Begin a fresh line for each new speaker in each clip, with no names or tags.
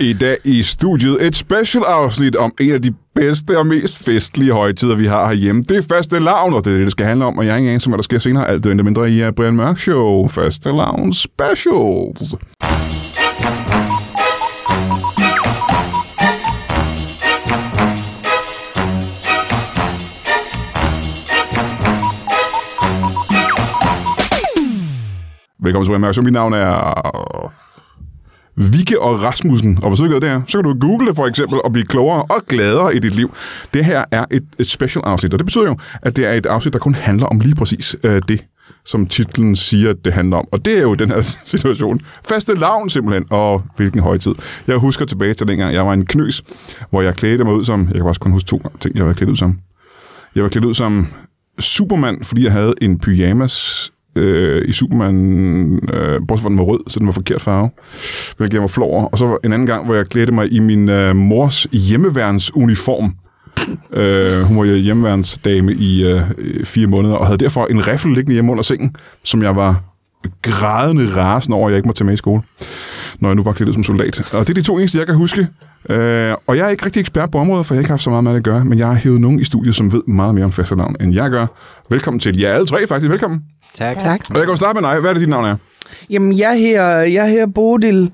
I dag i studiet et special afsnit om en af de bedste og mest festlige højtider, vi har herhjemme. Det er faste lavn, og det er det, det skal handle om, og jeg er ikke engang, hvad der sker senere. Alt det og intet mindre i øh, Brian Mørk Show. Faste lavn specials. Velkommen til Brian Mørk Show. Mit navn er... Vikke og Rasmussen. Og hvis du ikke ved det her, så kan du google det for eksempel og blive klogere og gladere i dit liv. Det her er et, et special afsnit, og det betyder jo, at det er et afsnit, der kun handler om lige præcis øh, det, som titlen siger, at det handler om. Og det er jo den her situation. Faste lavn simpelthen, og hvilken højtid. Jeg husker tilbage til dengang, jeg var en knøs, hvor jeg klædte mig ud som, jeg kan også kun huske to ting, jeg var klædt ud som. Jeg var klædt ud som Superman, fordi jeg havde en pyjamas øh, i Superman, øh, bortset fra, at den var rød, så den var forkert farve, hvilket jeg var flov over. Og så var en anden gang, hvor jeg klædte mig i min øh, mors hjemmeværnsuniform. Øh, hun var jo hjemmeværnsdame i øh, øh, fire måneder, og havde derfor en riffel liggende hjemme under sengen, som jeg var grædende rasen over, at jeg ikke måtte tage med i skole, når jeg nu var klædt ud som soldat. Og det er de to eneste, jeg kan huske. Øh, og jeg er ikke rigtig ekspert på området, for jeg har ikke haft så meget med det at gøre, men jeg har hævet nogen i studiet, som ved meget mere om fastelavn, end jeg gør. Velkommen til jer alle tre, faktisk. Velkommen.
Tak.
Tak.
Og jeg kan jo starte med dig. Hvad er det, dit navn er?
Jamen, jeg her, jeg her Bodil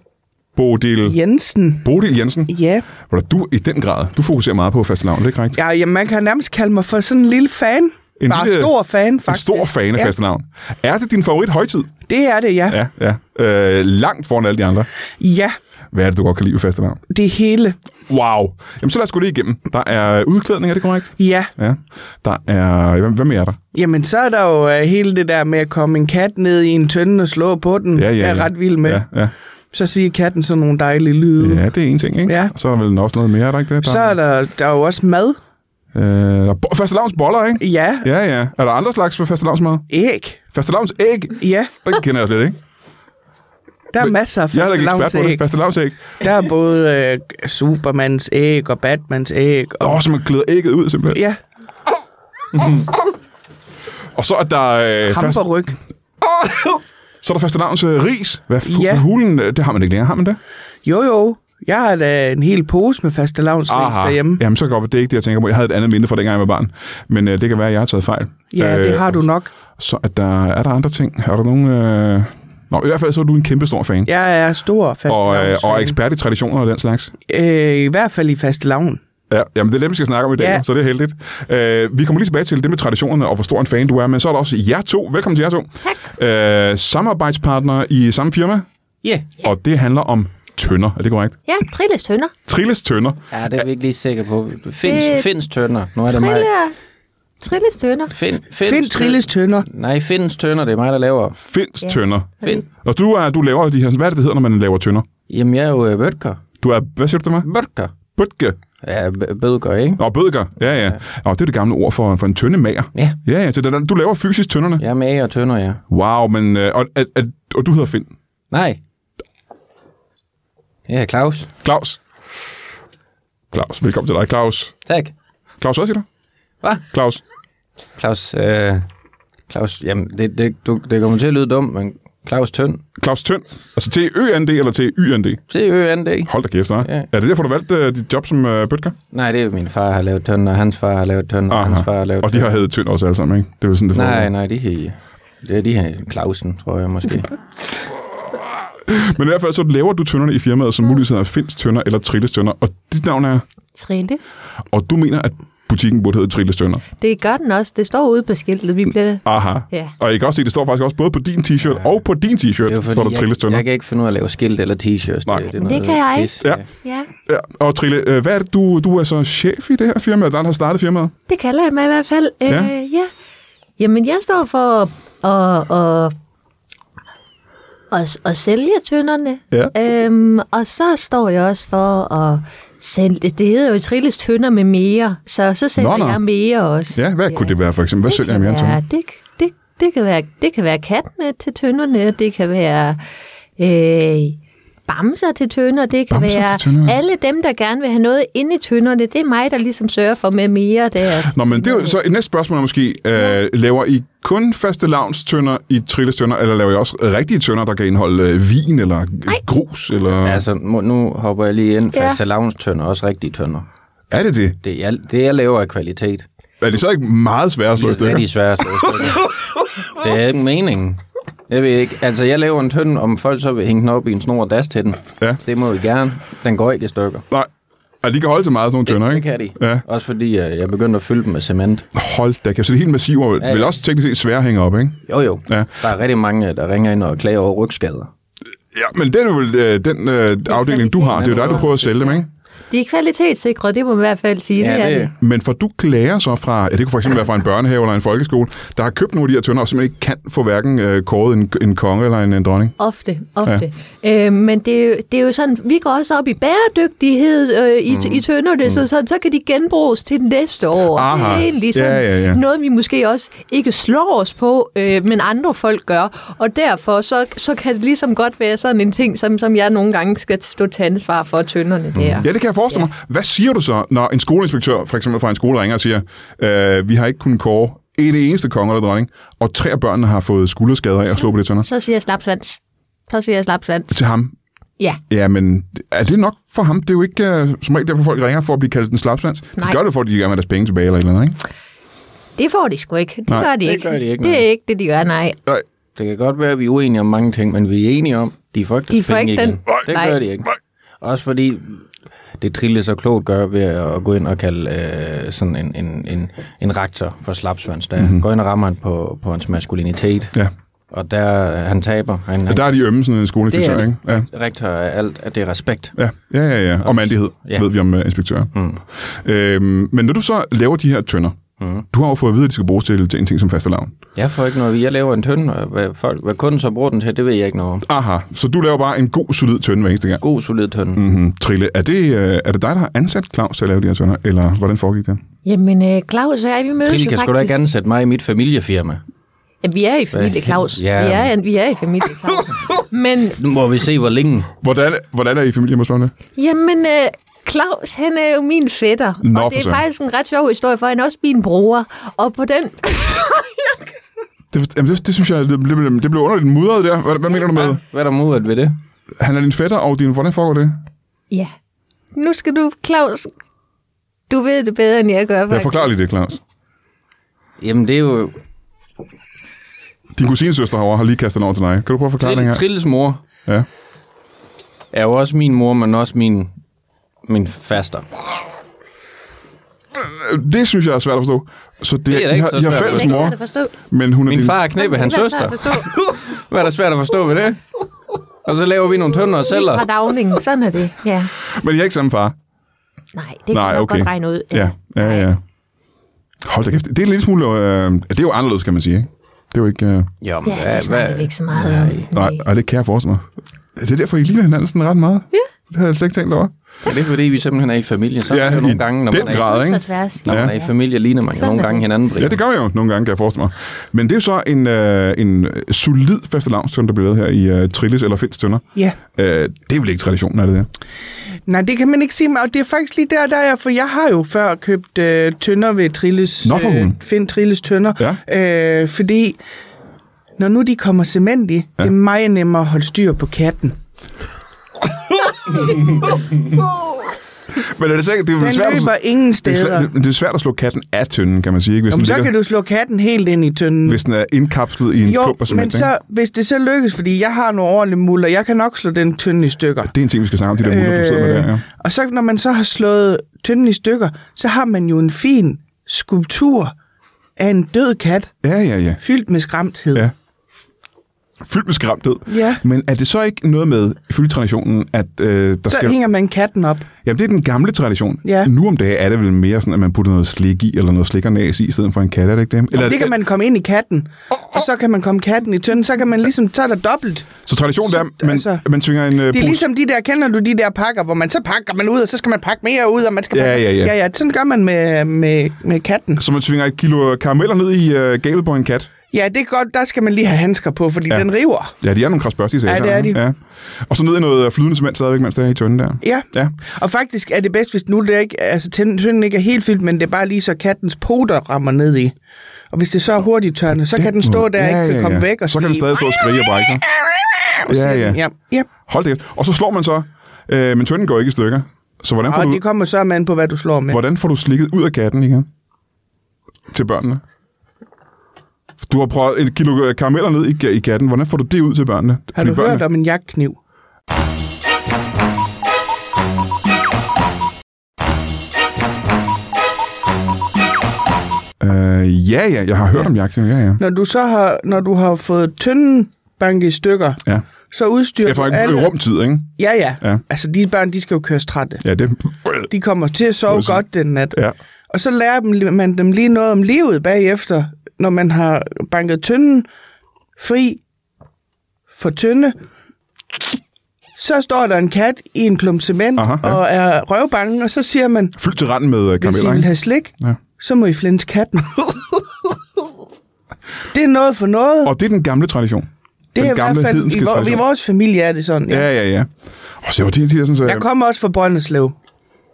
Bodil.
Jensen.
Bodil Jensen.
Ja.
Hvor du i den grad, du fokuserer meget på fastelavn, er det korrekt?
ja, jamen man kan nærmest kalde mig for sådan en lille fan.
En
En Bare
lille-
lille, stor fan,
En
faktisk.
stor fan af
ja,
fastelavn. Er det din favorit højtid?
Det er det, ja. ja.
Ja, ja. Øh, langt foran alle de andre.
Ja,
Hvad er det, du godt kan lide ved fastelavn?
det hele.
Wow. Jamen, så lad os gå lige igennem. Der er udklædning, er det korrekt?
Ja,
Ja. Der er... Hvad, hvad mere er der?
jamen så er der jo øh, hele det der med at komme en kat ned i en tønde og slå på den.
Ja, ja,
jeg er
ja.
ret vild med.
Ja, ja.
Så siger katten sådan nogle dejlige lyde.
ja, det er en ting, ikke?
Ja.
Så er der vel også noget mere, er der ikke det? Der,
Så er der, der er jo også mad.
Øh, bo- fastelavns boller, ikke?
Ja,
Ja, ja. Er der andre slags for fastelavnsmad?
æg.
Fastelavns æg?
Ja,
Den kender jeg slet ikke.
der er masser af
Jeg er heller ikke ekspert på
fastelavnsæg.
det. Fastelavnsæg.
Der er både øh, Supermans æg og Batmans æg. Og,
Åh, oh, så man glæder ægget ud simpelthen.
ja,
Og så er der, øh, fast,
hamperryg.
så er der fastelavns øh, ris. Hvad fu-
Ja.
ja. hulen? øh, Det har man ikke længere, har man det?
Jo, jo. Jeg har da en hel pose med faste derhjemme. Ja,
Jamen, så kan det godt være, det er ikke det, jeg tænker på. Jeg havde et andet minde fra dengang, jeg var barn. Men øh, det kan være, at jeg har taget fejl. Øh,
ja det har du nok.
Så er der, er der andre ting? Er der nogen... Øh... Nå, i hvert fald så er du en kæmpe stor fan.
Jeg er stor faste
Og, øh, og ekspert i traditioner og den slags.
øh, I hvert fald i faste lavn.
Ja, jamen det er dem, vi skal snakke om i dag, ja.
Ja.
så det er heldigt. Øh, vi kommer lige tilbage til det med traditionerne og hvor stor en fan du er, men så er der også jer to. Velkommen til jer to. Tak. Øh, samarbejdspartnere i samme firma,
Ja.
og det handler om tønder. Er det korrekt?
Ja, Trilles tønder.
Trilles tønder.
Ja, det er vi ikke lige sikre på. Finds,
Det-
finds tønder. Nu er det mig.
Trille er... Trilles tønder.
Find,
Find
tø-
Trilles tønder.
Nej, findes tønder. Det er mig, der laver.
Finds ja. tønder.
Find.
Og du, er, du laver de her... Hvad er det, det hedder, når man laver tønder?
Jamen, jeg er jo øh, bødker.
Du er... Hvad siger du til mig?
Bødker.
Bødke.
Ja, b- bødker, ikke?
Nå, bødker. Ja, ja. Nå, det er det gamle ord for, for en tøndemager.
Ja.
Ja, ja. Så det er- du laver fysisk tønderne. Ja.
Jeg er med og tønder, ja.
Wow, men... øh, Og, og, og, og du hedder Finn.
Nej. Ja, Claus.
Claus. Claus, velkommen til dig, Claus.
Tak.
Claus, hvad siger du?
Hvad?
Claus.
Claus, øh, Claus, jamen, det, det, du, det kommer til at lyde dumt, men Claus Tønd.
Claus Tønd. Altså til ø eller til Y-N-D?
Se ø andet dag.
Hold da kæft, nej. Ja.
Ja.
Er det derfor, du valgte øh, dit job som øh, bødker?
Nej, det er jo min far har lavet tønder, og hans far har lavet tønder, og hans far har lavet
Og de har heddet Tønd også alle sammen, ikke? Det er vel sådan, det foregår.
Nej, nej, de her... Det er de her Clausen, tror jeg måske.
Men i hvert fald så laver du tønderne i firmaet, som muligvis hedder Finds Tønder eller Trilles Tønder, og dit navn er,
Trille.
og du mener, at butikken burde hedde Trilles Tønder.
Det gør den også. Det står ude på skiltet. Vi bliver...
Aha.
Ja.
Og I kan også se, det står faktisk også både på din t-shirt og på din t-shirt,
Det er jo fordi,
står der Trilles
jeg,
Tønder.
jeg kan ikke finde ud af at lave skilt eller t-shirts.
Nej.
er
Men det
noget
kan jeg
pis.
ikke.
Ja.
Ja,
ja. Og Trille, øh, hvad er det, du, du er så chef i det her firma, der har startet firmaet?
det kalder jeg mig i hvert fald. Øh,
Ja.
ja. Jamen, jeg står for at, at, at, at sælge tønderne.
Ja.
Øhm, og så står jeg også for at sælge... Det hedder jo Trilles tønder med mere, så så sælger
Nå, nå.
jeg mere også.
Ja, hvad ja. kunne det være for eksempel? Hvad sælger jeg mere til?
Ja, det, det, det, kan være, det kan være kattene til tønderne, det kan være øh, bamser til tønder, det kan
Bamser
være
til tønder, ja.
alle dem, der gerne vil have noget inde i tønderne. Det er mig, der ligesom sørger for med mere der.
Nå, men det er jo, så et næste spørgsmål er måske, øh, laver I kun faste lavnstønder i trillestønder, eller laver I også rigtige tønder, der kan indeholde øh, vin eller grus? Eller...
Ja, altså, må- nu hopper jeg lige ind.
Ja.
Faste lavnstønder, også rigtige tønder.
Er det det?
Det, jeg, det, jeg laver, er kvalitet.
Er det så ikke meget svært at slå i
Det er
stykker?
de sværeste. det er ikke meningen. Jeg ved ikke. Altså, jeg laver en tønde, om folk så vil hænge den op i en snor og das til den.
Ja.
Det må vi gerne. Den går ikke i stykker.
Nej. Og de kan holde til meget, sådan nogle tønder,
Det
ikke?
kan de.
Ja.
Også fordi øh, jeg begyndte at fylde dem med cement.
Hold da kæft. Så det er helt massivt, og
ja.
vel også teknisk set svære at hænge op, ikke?
Jo, jo.
Ja.
Der er rigtig mange, øh, der ringer ind og klager over rygskader.
Ja, men den er vel øh, den øh, afdeling, du har. Det er jo dig, der prøver at sælge dem, ikke?
De er kvalitetssikre, det må man i hvert fald sige. det er de.
Men får du klager så fra, ja, det kunne for eksempel være fra en børnehave eller en folkeskole, der har købt nogle af de her tønder, og simpelthen ikke kan få hverken øh, kåret en, en konge eller en, en dronning?
Ofte, ofte. Ja. Øh, men det, er jo- det er jo sådan, vi går også op i bæredygtighed øh, i, mm. i tønderne, så, så, så kan de genbruges til næste år. Det
Aha.
er egentlig sådan
Ja, ja, ja.
noget, vi måske også ikke slår os på, øh, men andre folk gør. Og derfor så, så kan det ligesom godt være sådan en ting, som, som jeg nogle gange skal stå til ansvar for tønderne der.
Ja, det kan jeg forestille mig. Hvad siger du så, når en skoleinspektør, for eksempel fra en skole, ringer og siger, øh, vi har ikke kunnet kåre en eneste konge eller dronning, og tre af børnene har fået skulderskader af at slå på det tønder?
Så siger jeg slapsvans. Så siger jeg slapsvans.
Til ham.
Ja.
Ja, men er det nok for ham? Det er jo ikke øh, som regel derfor, folk ringer for at blive kaldt en slapslands. De
Nej.
gør det, for at de gerne vil have deres penge tilbage eller et eller andet, ikke?
Det får de sgu ikke. Det
Nej.
gør de
Det
ikke.
gør de ikke,
det
nej.
er ikke det, de gør, nej.
Det kan godt være, at vi er uenige om mange ting, men vi er enige om, de får ikke
De
deres
får
penge
ikke den.
igen. Det
Nej.
gør de ikke. Også fordi det Trille så klogt gør ved at gå ind og kalde øh, sådan en, en, en, en rektor for slapsvans. Der mm-hmm. går ind og rammer han på, på hans maskulinitet,
Ja.
og der øh, han taber. Han, han,
Der er de ømme, sådan en skoleinspektør,
Det er
ikke? Ja.
rektor er alt, at det er respekt.
Ja, ja, ja, ja. Og mandighed, ja.
Ja.
ved vi om uh, inspektører. Mm. Øhm, men når du så laver de her tønder, mm. du har jo fået at vide, at de skal bruges til, til en ting som fastelavn.
Jeg får ikke noget. Jeg laver en tønde, og hvad, folk, hvad kunden så bruger den til, det ved jeg ikke noget om.
Aha, så du laver bare en god, solid tønde hver eneste gang.
God, solid tønde. Mm.
Mm-hmm. Trille, er det, øh, er det dig, der har ansat Claus til at lave de her tønder, eller hvordan foregik det?
Jamen, øh, Claus og jeg, vi mødes
Trille
jo
kan
faktisk...
sgu da ikke ansætte mig i mit familiefirma.
Ja, vi er i familie,
Hvad?
Claus.
Ja.
Vi, er, vi er i familie, Claus. Men,
Nu må vi se, hvor længe.
Hvordan, hvordan er I familie, må jeg spørge om det?
jamen, øh, Claus, han er jo min fætter.
Nå,
og
for
det er
søren.
faktisk en ret sjov historie, for han er også min bror. Og på den...
Det, jamen, det, det synes jeg, det, det, det blev underligt mudret der. Hvad, hvad mener du med?
Hvad er der modet ved det?
Han er din fætter, og din, hvordan foregår det?
ja, nu skal du, Claus... Du ved det bedre, end jeg gør.
Jeg
faktisk.
forklarer lige det, Claus.
Jamen, det er jo...
Din kusinesøster herovre har lige kastet den over til dig. Kan du prøve at forklare den
Trille,
her?
Trilles mor
Ja.
er jo også min mor, men også min, min faster.
Øh, Det synes jeg er svært at forstå. Så det,
Det er
I
da ikke
har,
så
I har
svært at
fælles
Det kan
mor,
jeg da forstå.
men hun er
Min
din...
far knæppede hans
Det er da svært
søster.
at forstå.
Hvad er der svært at forstå ved det? Og så laver vi nogle tønder og
Lige
sælger.
fra Dagningen. Sådan er det. Ja.
Men I er ikke samme far?
Nej, det kan
Nej,
jeg nok
okay.
godt regne ud.
Ja, ja, ja. Hold da kæft. Det er en lille smule... Øh, det er jo anderledes, kan man sige, ikke? Det er jo ikke... Øh,
Jo, men
Ja, det snakker vi ikke så meget om.
Nej.
nej, og det kan jeg forestille mig. Det er derfor, I ligner hinanden sådan ret meget. Ja. Det havde jeg slet ikke tænkt over.
Er det fordi, vi simpelthen er i familie? Så
Ja,
er det jo
i
nogle gange, når
den
man, er i,
grad,
Så
ikke?
tværs.
når man er i familie, ligner man jo
Sådan
nogle
er
gange
det.
hinanden. Brian.
Ja, det gør jeg jo nogle gange, kan jeg forestille mig. Men det er jo så en, øh, en solid fastelavnstønder, der bliver lavet her i øh, Trillis eller Finds Tønder.
Ja.
Øh, det er vel ikke traditionen, er det det?
Nej, det kan man ikke sige, men- og det er faktisk lige der, der er, for jeg har jo før købt øh, tønder ved Trilles, øh,
Nå, for hulen.
Find Trilles tønder, ja. øh, fordi når nu de kommer cement i, ja. det er meget nemmere at holde styr på katten.
Men er det, så, ikke- det er
Den
vel svært, at-
løber ingen
det, er
steder.
svært, det er svært at slå katten af tønden, kan man sige, ikke? Hvis,
Jamen,
den,
så
ligger,
kan du slå katten helt ind i tønden.
hvis den er indkapslet i en
jo,
klump og
men
cement, ikke?
så, hvis det så lykkes, fordi jeg har nogle ordentlige muller, jeg kan nok slå den tynde i stykker. Øh,
Det er en ting, vi skal snakke om, de der muller, du sidder med der, ja.
Og så når man så har slået tynden i stykker, så har man jo en fin skulptur af en død kat,
Ja, ja, ja.
fyldt med skræmthed.
Ja. Fyldt med skræmthed.
Ja.
Men er det så ikke noget med, ifølge traditionen, at øh, der
Så
skal...
hænger man katten op.
Jamen, det er den gamle tradition.
Ja.
Nu om dagen er det vel mere sådan, at man putter noget slik i, eller noget slikkernæs i, i stedet for en kat, er det ikke det? Eller,
Eller, det kan man komme ind i katten, og så kan man komme katten i tynden, så kan man ligesom, så er der dobbelt.
Så traditionen
Så-
er, at man,
altså,
man tvinger en øh,
Det
pose...
er ligesom de der, kender du de der pakker, hvor man så pakker man ud, og så skal man pakke mere ud, og man skal
Ja,
pakke...
ja, ja.
ja, ja. Sådan gør man med, med, med katten.
Så man tvinger et kilo karameller ned i øh, gabet på en kat.
Ja, det er godt. Der skal man lige have handsker på, fordi ja. den river.
Ja, de er nogle kradsbørste i
Ja, det er de.
Ja. Og så ned i noget øh, flydende cement stadigvæk, mens det er i tønden der.
Ja.
Ja.
Og faktisk er det bedst, hvis nu det er ikke, altså tænden tynden ikke er helt fyldt, men det er bare lige så kattens poter rammer ned i. Og hvis det så er hurtigt tørrende, så kan den stå der og ikke kan komme væk og
Så kan den
snige.
stadig stå og skrige og brække sig. Ja, ja.
ja. ja.
Hold det. Og så slår man så, øh, men tønden går ikke i stykker. Så hvordan får,
Og
du,
det kommer så man på, hvad du slår med.
hvordan får du slikket ud af katten igen? Til børnene? Du har prøvet et kilo øh, karameller ned i, i katten. Hvordan får du det ud til børnene?
Har du hørt om en jagtkniv?
Øh, ja, ja, jeg har hørt om jagt. Ja, ja.
Når du så har, når du har fået tynden banket i stykker,
ja.
så udstyrer
Efter
du
en
alle...
rumtid, ikke?
Ja, ja,
Ja.
ja. Altså, de børn, de skal jo køres trætte.
Ja, det...
De kommer til at sove
Præcis.
godt den nat.
Ja.
Og så lærer dem- man dem lige noget om livet bagefter, når man har banket tynden fri for tynde. Så står der en kat i en klump cement
Aha,
Aha,
ja.
ja. og er røvbange, og så siger man,
Fyld til randen med øh,
hvis I
karameller,
vil
ikke?
have slik,
Ja.
ja. så må I flænse katten. det er noget for noget.
Og det er den gamle tradition.
det
den
er i
gamle
hvert fald,
hedenske
i, vor,
tradition.
i vores familie er det sådan. Ja.
Ja, ja, ja. Og så var det, det er sådan, så,
Jeg kommer også fra Brønderslev.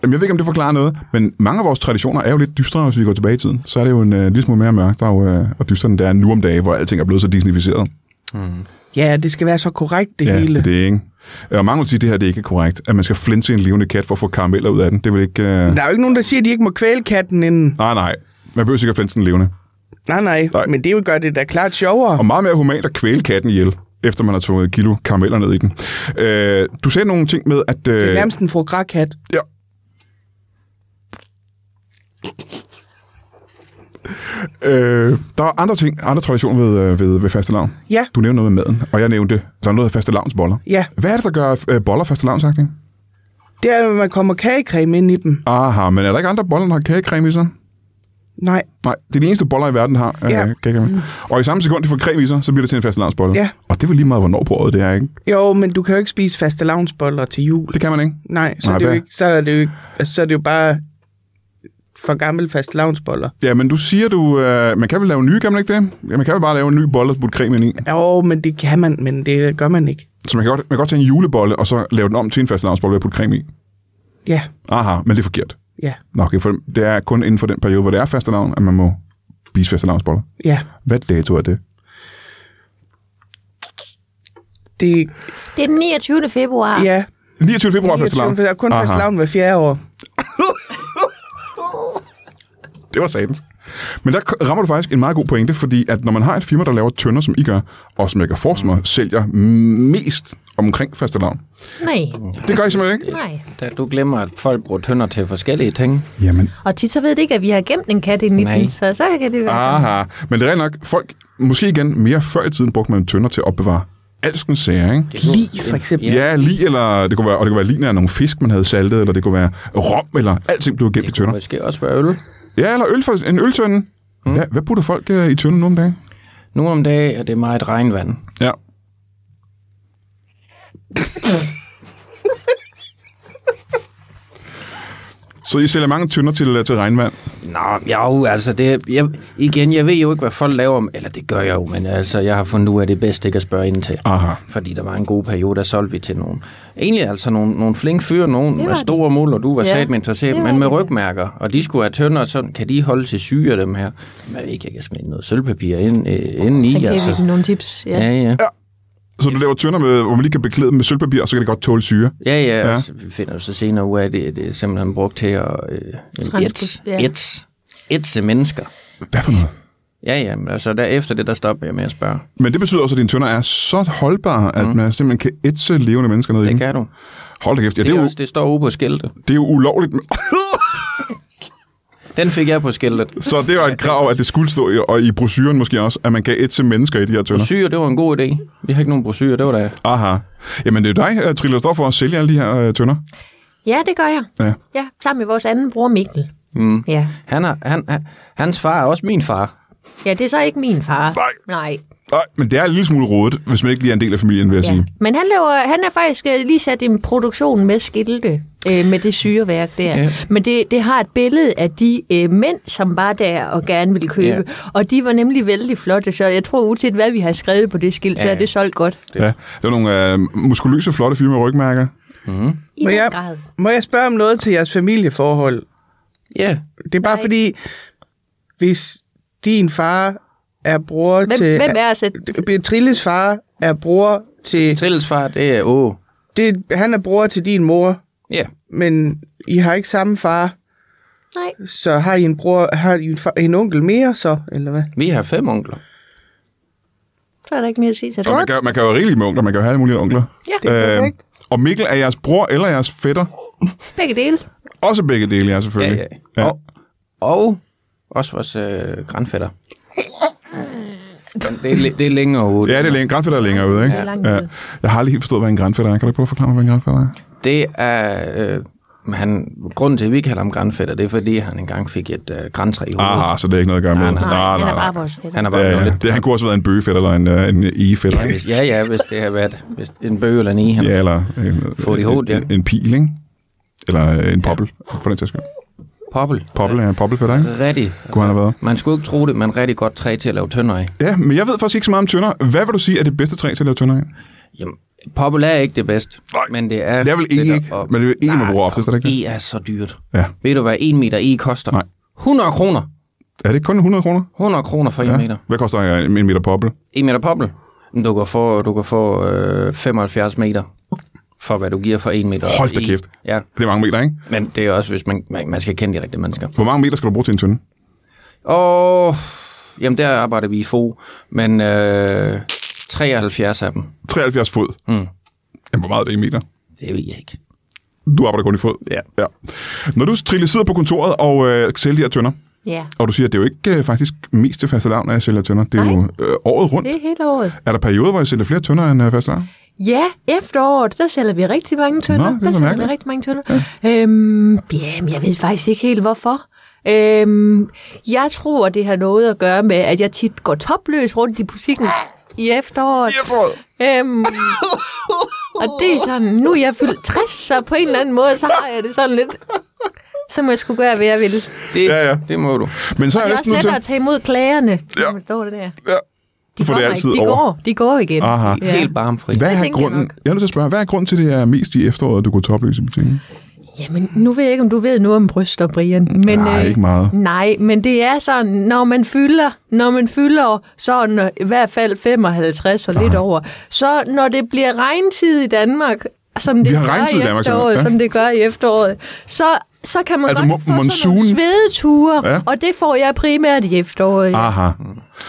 Jamen, jeg ved ikke, om det forklarer noget, men mange af vores traditioner er jo lidt dystre, hvis vi går tilbage i tiden. Så er det jo en uh, lille smule mere mørkt og, uh, og dystre, end det er nu om dagen, hvor alting er blevet så disnificeret.
Ja, det skal være så korrekt, det
Ja,
hele.
det er det, ikke? Og mange vil sige, at det her det er ikke korrekt, at man skal flinte en levende kat for at få karameller ud af den. Det vil ikke... Uh...
Der er jo ikke nogen, der siger, at de ikke må kvæle katten inden.
Nej, nej. Man behøver sikkert flinte den levende.
Nej, nej,
Nej.
nej. men det jo gør det da klart sjovere.
Og meget mere humant at kvæle katten ihjel, efter man har tvunget et kilo karameller ned i den. Uh, du sagde nogle ting med, at... Uh...
Det er nærmest en frugrak-kat.
Ja. Øh, der er andre ting, andre traditioner ved, øh, ved, ved faste lavn.
Ja.
Du nævnte noget med maden, og jeg nævnte, der er noget af faste lavnsboller.
Ja,
Hvad er det, der gør øh, boller faste lavnsagtige?
det er, når man kommer kagecreme ind i dem.
Aha, men er der ikke andre boller, der har kagecreme i sig?
Nej,
Nej, det er de eneste boller i verden, der har øh,
Ja. Mm.
kagecreme. Og i samme sekund, de får creme i sig, så bliver det til en faste lavnsbolle.
Ja.
Og det er vel lige meget, hvornår på året det er, ikke?
jo, men du kan jo ikke spise faste lavnsboller til jul.
Det kan man ikke.
Nej, så,
Nej,
nej, det er
hvad?
jo ikke, så, er det jo ikke, altså, så er det jo bare for gammel faste lavnsboller.
Ja, men du siger, du, øh, man kan vel lave nye, kan man ikke det? Ja, man kan vel bare lave en ny bolle og putte creme ind i.
Jo, men det kan man, men det gør man ikke.
Så man kan, godt, man kan godt tage en julebolle, og så lave den om til en fastelavnsbolle ved at putte creme i.
Ja,
Aha, men det er forkert.
ja,
Nå, okay, for det er kun inden for den periode, hvor det er fastelavn, at man må spise fastelavnsboller.
ja.
Hvad dato er det?
Det,
Det er den 29. februar.
ja.
29. februar er fastelavn.
Der er kun
Aha,
faste lavn hver fjerde år.
Det var satans. Men der k- rammer du faktisk en meget god pointe, fordi at når man har et firma, der laver tønder, som I gør, og som jeg kan forestille mig, sælger mest omkring fastelavn.
Nej,
Det gør I simpelthen ikke?
nej.
Da du glemmer, at folk bruger tønder til forskellige ting.
Jamen,
Og tit så ved det ikke, at vi har gemt en kat inde i
Nej.
den, så så kan det være sådan.
Aha, men det er rent nok, folk, måske igen, mere før i tiden brugte man tønder til at opbevare alskens sager, ikke?
Lige for eksempel.
Ja, ja lige, eller det kunne være, og det kunne være lige af nogle fisk, man havde saltet, eller det kunne være rom, eller alting blev gemt i
Det kunne
tønder.
måske også være øl.
Ja, eller øl, for- en øltønde. Mm. Hvad, hvad putter folk øh, i tønden nu om dagen?
Nu om dagen er det meget regnvand.
Ja. Så I sælger mange tønder til, øh, til regnvand?
Nå, jo, altså det, jeg, igen, jeg ved jo ikke, hvad folk laver om, eller det gør jeg jo, men altså, jeg har fundet ud af det er bedst ikke at spørge ind til.
Aha.
Fordi der var en god periode, der solgte vi til nogen. Egentlig altså nogle, nogle flink fyre,
Det
nogen
var
med
det.
store mål, og du var
Ja,
ja, satme interesseret,
det var
men med
det.
rygmærker, og de skulle have tønder, og sådan kan de holde til syge af dem her. Men ikke, jeg kan smide noget sølvpapir ind, øh, ind
Så
i,
giver vi
altså.
dem nogle tips. Ja.
Ja, ja.
Så du laver tønder, med, hvor man lige kan beklæde dem med sølvpapir, og så kan det godt tåle syre.
Ja, ja,
Ja.
ja. Og så vi finder jo så senere ud af, at det, det er simpelthen brugt til at øh,
Transport-
et,
ja.
et, et mennesker.
Hvad for noget?
Ja, ja, men altså derefter det, der stopper jeg med at spørge.
Men det betyder også, at dine tønder er så holdbare, at man simpelthen kan ætse levende mennesker ned i
Mm. Det
dem.
kan du.
Hold da kæft. Ja, Mm. det,
Det,
er
det,
jo,
også, det står ude på skiltet.
det er jo ulovligt.
Den fik jeg på skiltet.
så det var et krav, at det skulle stå i, og i brosyren måske også, at man kan ætse mennesker i de her tønder.
Brosyre, det var en god idé. Vi har ikke nogen brosyre, det var da...
Aha. Jamen, det er jo dig, øh, Trille, der står for at sælge alle de her øh, tønder.
ja, det gør jeg.
Ja.
Ja, sammen med vores anden bror Mikkel.
Mm.
Ja.
Han er, han, han, hans far er også min far.
ja, det er så ikke min far.
Nej.
Nej.
Nej, men det er en lille smule rodet, hvis man ikke lige er en del af familien, vil jeg ja. sige.
Men han, laver, han er faktisk øh, lige sat en produktion med skilte øh, med det syreværk der.
Ja.
Men det, det har et billede af de øh, mænd, som var der og gerne ville købe.
Ja.
Og de var nemlig vældig flotte, så jeg tror uanset hvad vi har skrevet på det skilt, så
Ja.
er det solgt godt.
Ja. Det er nogle øh, muskuløse, flotte fyre med rygmærker.
I
Må
den
jeg-
grad.
Må jeg spørge om noget til jeres familieforhold?
Ja.
Det er bare
Nej.
fordi, hvis din far er bror
Hvem,
til...
hvem er altså...
Trilles far er bror til...
Trilles far, det er Åge.
Det, han er bror til din mor,
Ja.
men I har ikke samme far,
Nej,
så har I en, bror, har I en, far, en onkel mere så, eller hvad?
Vi har fem onkler.
så er der ikke mere at sige til
Og man
det.
kan, man kan jo rigeligt med onkler, man kan jo have alle mulige onkler. Øh,
Ja,
Det er perfekt.
og Mikkel er jeres bror eller jeres fætter.
begge dele.
Også begge dele, ja,
Ja,
selvfølgelig.
ja. ja. Og, og også vores øh, grandfætter. Men det, er, læ- det er længere ude.
Ja, det er længe. Grandfætter er længere ude, ikke?
Det er langt ude.
Jeg har aldrig helt forstået, hvad en grandfætter er. Kan du prøve at forklare mig, hvad en grandfætter er?
Det er... Øh, han, grunden til, at vi ikke kalder ham grandfætter, det er, fordi han engang fik et øh, grantræ i hovedet.
Ah, så det er ikke noget at gøre med.
Nej,
Nej, nej, han er bare vores fætter.
Han er bare
Ja,
blevet
ja.
lidt...
Det, han kunne også have været en bøgefætter eller en, øh, en egefætter,
Ja,
ikke?
hvis, ja, ja, hvis det har været hvis en bøge eller en i, han
Ja, eller en,
Få det i hovedet, ja.
en, en pil, ikke? Eller øh, en poppel, for den tages skyld.
poppel.
Poppel er en poppelfætter, ikke?
Rigtig.
Kunne han have været.
Man skulle ikke tro det, men rigtig godt træ til at lave tønder af.
Ja, men jeg ved faktisk ikke så meget om tønder. Hvad vil du sige er det bedste træ til at lave tønder af?
Jamen, poppel er ikke det bedste,
Nej,
men det er...
det er vel
det,
eg,
der-
ikke?
og-
Men det er vel eg, man
Nej,
bruger oftest, er det ikke det?
E er så dyrt.
Ja.
Ved du, hvad 1 meter E koster?
Nej.
100 kroner.
Er det ikke kun 100 kroner?
100 kroner for 1 ja. meter.
Hvad koster øh, en en meter poppel?
1 meter poppel. Men Du kan få, du kan få øh, 75 meter for, hvad du giver for 1 meter.
Hold da
E.
kæft.
Ja,
Det er mange meter, ikke?
men det er også, hvis man, man, man skal kende de rigtige mennesker.
Hvor mange meter skal du bruge til en tønde?
Og jamen, der arbejder vi i FO, men øh, 73 af dem,
73 fod.
Mm.
Jamen, hvor meget er det i meter?
det ved jeg ikke.
Du arbejder kun i fod.
Ja.
ja. Når du Trille, sidder på kontoret og øh, sælger de her tønder,
Ja,
og du siger, at det er jo ikke øh, faktisk mest til faste lavn, at jeg sælger tønder. Det er
Nej.
jo øh, året rundt.
det er hele året.
Er der perioder, hvor jeg sælger flere tønder end øh, faste lavn?
Ja, efteråret, der sælger vi rigtig mange tønder.
Nå, det
der
var
sælger
mærkeligt.
vi rigtig mange tønder. Ja. Øhm, jamen, jeg ved faktisk ikke helt, hvorfor. Øhm, jeg tror, det har noget at gøre med, at jeg tit går topløs rundt i butikken i efteråret.
efteråret!
Øhm, og det er sådan, nu er jeg fyldt 60, så på en eller anden måde, så har jeg det sådan lidt, så må jeg skulle gøre, hvad jeg vil.
Det,
Ja, ja.
det må du.
Men så er
Det
jeg
er
næsten nødt
også
til...
lettere at tage imod klagerne,
Ja.
ja. man står det der.
Ja.
De
For det er
kommer
altid
ikke, de
over.
går, de går igen.
Aha.
Ja. Helt barmfri.
Hvad er
tænker jeg
grunden?
nok.
Jeg er nødt til at spørge, hvad er grunden til, at det er mest i efteråret, du går topløs i butikken?
Jamen, nu ved jeg ikke, om du ved noget om bryster, Brian. Men, øh,
Nej, ikke meget.
Nej, men det er sådan, når man fylder, når man fylder sådan øh, i hvert fald 55 og lidt
Ah.
over, så når det bliver regntid i Danmark, som det
har
gør
regntid i
i
Danmark, simpelthen,
efteråret,
ja.
som det gør i efteråret, så, så kan man
Altså
godt
mon-
få sådan nogle
monsun.
svedeture,
Ja.
ja. og det får jeg primært i efteråret. Ah.
Aha. Og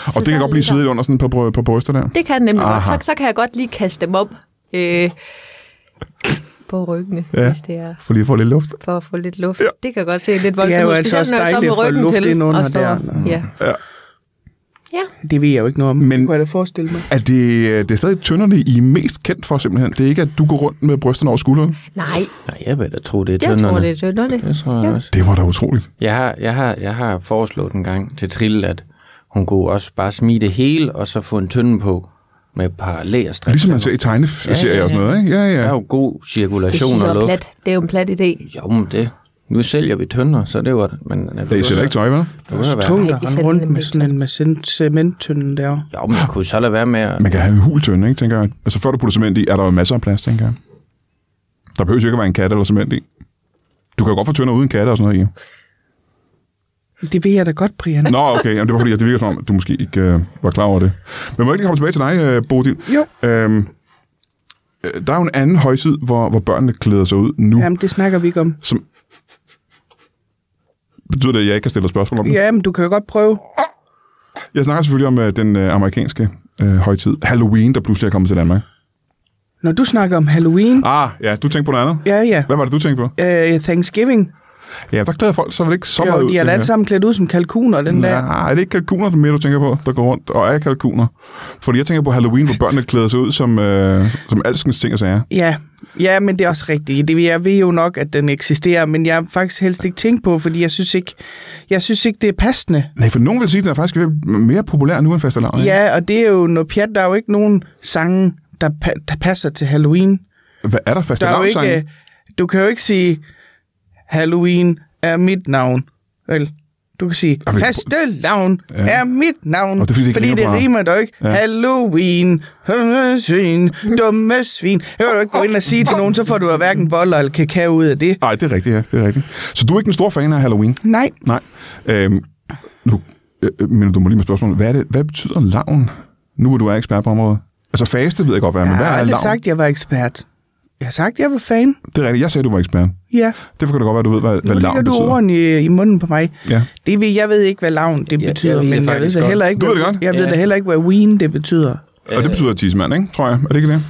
det
der
kan
er
godt blive
lidt
svedigt under sådan et par, bry- par bryster der.
Det kan nemlig
Aha.
godt. Så, så kan jeg godt lige kaste dem op øh, på ryggene,
Ja.
ja. hvis det er
For lige at få lidt luft.
for at få lidt luft. Ja. Det kan godt se lidt voldsomt
Det er jo
ud,
altså
specielt,
også
når jeg står
dejligt
med
at få
ryggen
luft
til
ind
og
under
står-
der, eller-
Ja.
Ja.
ja.
Det ved jeg jo ikke noget om,
Men-
men kunne jeg da forestille mig.
Er det, øh, det er stadig tønderne, I er mest kendt for simpelthen? Det er ikke, at du går rundt med brysterne over skulderen?
Nej,
Nej, jeg vil da tro, det er
jeg
tønderne.
tror, det er tønderne.
Det tror jeg
Ja.
også.
Det var da utroligt.
Jeg har, jeg, har, jeg har foreslået en gang til Trille, at hun kunne også bare smide det hele, og så få en tynde på med et par lægerstrik.
Ligesom man ser i tegneserier ja, ja, ja. og sådan noget, ikke? Ja,
Der er
ja.
jo god
Det
cirkulation
synes
og
jeg er
luft.
plat. Det er jo en plat idé.
Jo, men det. Nu sælger vi tønder, så det var det. Men,
Da I sælger ikke tøj, vel?
Det kunne jo være.
Tungt
Nej,
at
vi
rende
sælger
rundt
dem
med
ikke.
sådan en med cement- cementtønden derovre.
Jo, men jeg kunne så lade være med at...
Man kan have en hul tønde, ikke, tænker jeg. Altså før du putter cement i, er der jo masser af plads, tænker jeg. Der behøver jo ikke at være en kat eller cement i. Du kan jo godt få tønder uden katte og sådan noget i.
Det ved jeg da godt, Brian.
Nå, okay. Jamen, det var fordi, at det virker som om, at du måske ikke øh, var klar over det. Men må jeg ikke lige komme tilbage til dig, øh, Bodil?
Jo.
Øhm, øh, der er jo en anden højtid, hvor, hvor børnene klæder sig ud nu. Jamen.
Jamen, det snakker vi ikke om.
Som Betyder det, at jeg ikke kan stille dig spørgsmål om det?
Jamen, du kan jo godt prøve.
Jeg snakker selvfølgelig om øh, den øh, amerikanske øh, højtid. Halloween, der pludselig er kommet til Danmark.
Når du snakker om Halloween...
Ah, ja, du tænkte på noget andet.
Ja, ja.
Hvad var det, du tænkte på?
Øh, Thanksgiving.
Ja, der klæder folk så vel ikke så meget
Jo,
ud
de er da
tænker jeg.
alle sammen klædt ud som kalkuner den dag.
Nej, er det ikke kalkuner, mere du tænker på, der går rundt og er kalkuner? Fordi jeg tænker på Halloween, hvor børnene klæder sig ud som, øh, som alskens ting og sager.
Ja, Ja, men det er også rigtigt. Det, jeg ved jo nok, at den eksisterer, men jeg har faktisk helst ikke tænkt på, fordi jeg synes ikke, jeg synes ikke det er passende.
Nej, for nogen vil sige, at den er faktisk ved- mere populær nu end fastelavn. ikke?
Ja, og det er jo noget pjat. Der er jo ikke nogen sange, der, pa- der passer til Halloween.
Hvad er der
Der er jo
fastelavn
ikke, øh, du kan jo ikke sige, Halloween er mit navn. Vel, du kan sige,
Jamen,
fastelavn
Ja.
ja. er mit navn.
Og det er, fordi det ikke
fordi
rimer
det
på-
rimer dog ikke.
Ja.
Ja. Halloween, dumme svin, dumme svin. Jeg kan du ikke gå ind og sige til nogen, så får du hverken boller eller kakao ud af det.
Nej, det er rigtigt, ja. Det er rigtigt. Så du er ikke den store fan af Halloween?
Nej,
Nej. Øhm, nu, øh, øh, men du må lige med spørgsmålet. Hvad, er det, hvad betyder lavn, nu hvor du er ekspert på området? Altså faste ved jeg godt, hvad er,
jeg
men
har
hvad er
aldrig
lavn?
sagt, at jeg var ekspert. Jeg har sagt, at jeg var fan.
Det er rigtigt. Jeg sagde, du var ekspert.
Ja,
Derfor kan det godt være, du ved, hvad,
nu
hvad
ligger
lavn
du
betyder.
ordene i, i munden på mig.
Ja.
Det ved, jeg ved ikke, hvad lavn det
Ja, jeg
betyder,
ved det
men jeg ved,
faktisk
da
godt.
heller ikke,
Du ved det
hvad-
godt?
jeg ved
Ja.
da heller ikke, hvad ween det betyder.
Og
Øh.
det betyder tissemand, ikke? Tror jeg. Er det ikke det?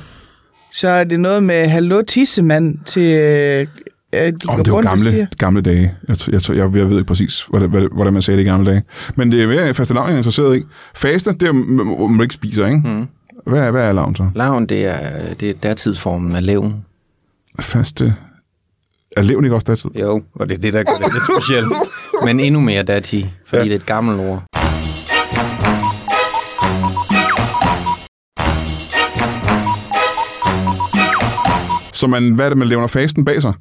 Så er det noget med, hallo tissemand til... Øh, øh, de
Om
går
det var
rundt og
gamle,
siger.
gamle dage. Jeg, tr- jeg, tr- jeg, jeg ved ikke præcis, hvordan, hvad- hvordan man sagde det i gamle dage. Men det er mere faste lavn, jeg er interesseret i. Faste, det er, m- m- hvor man ikke spiser, ikke? Mm. Hvad, er, hvad er lavn så?
Lavn, det er, det er dertidsformen af levn.
Faste... Er levn ikke også datid?
Jo, og det er det, der gør det lidt specielt. Men endnu mere datid, fordi ja. det er et gammelt ord.
Så man, hvad er det, man levner fasten bag sig?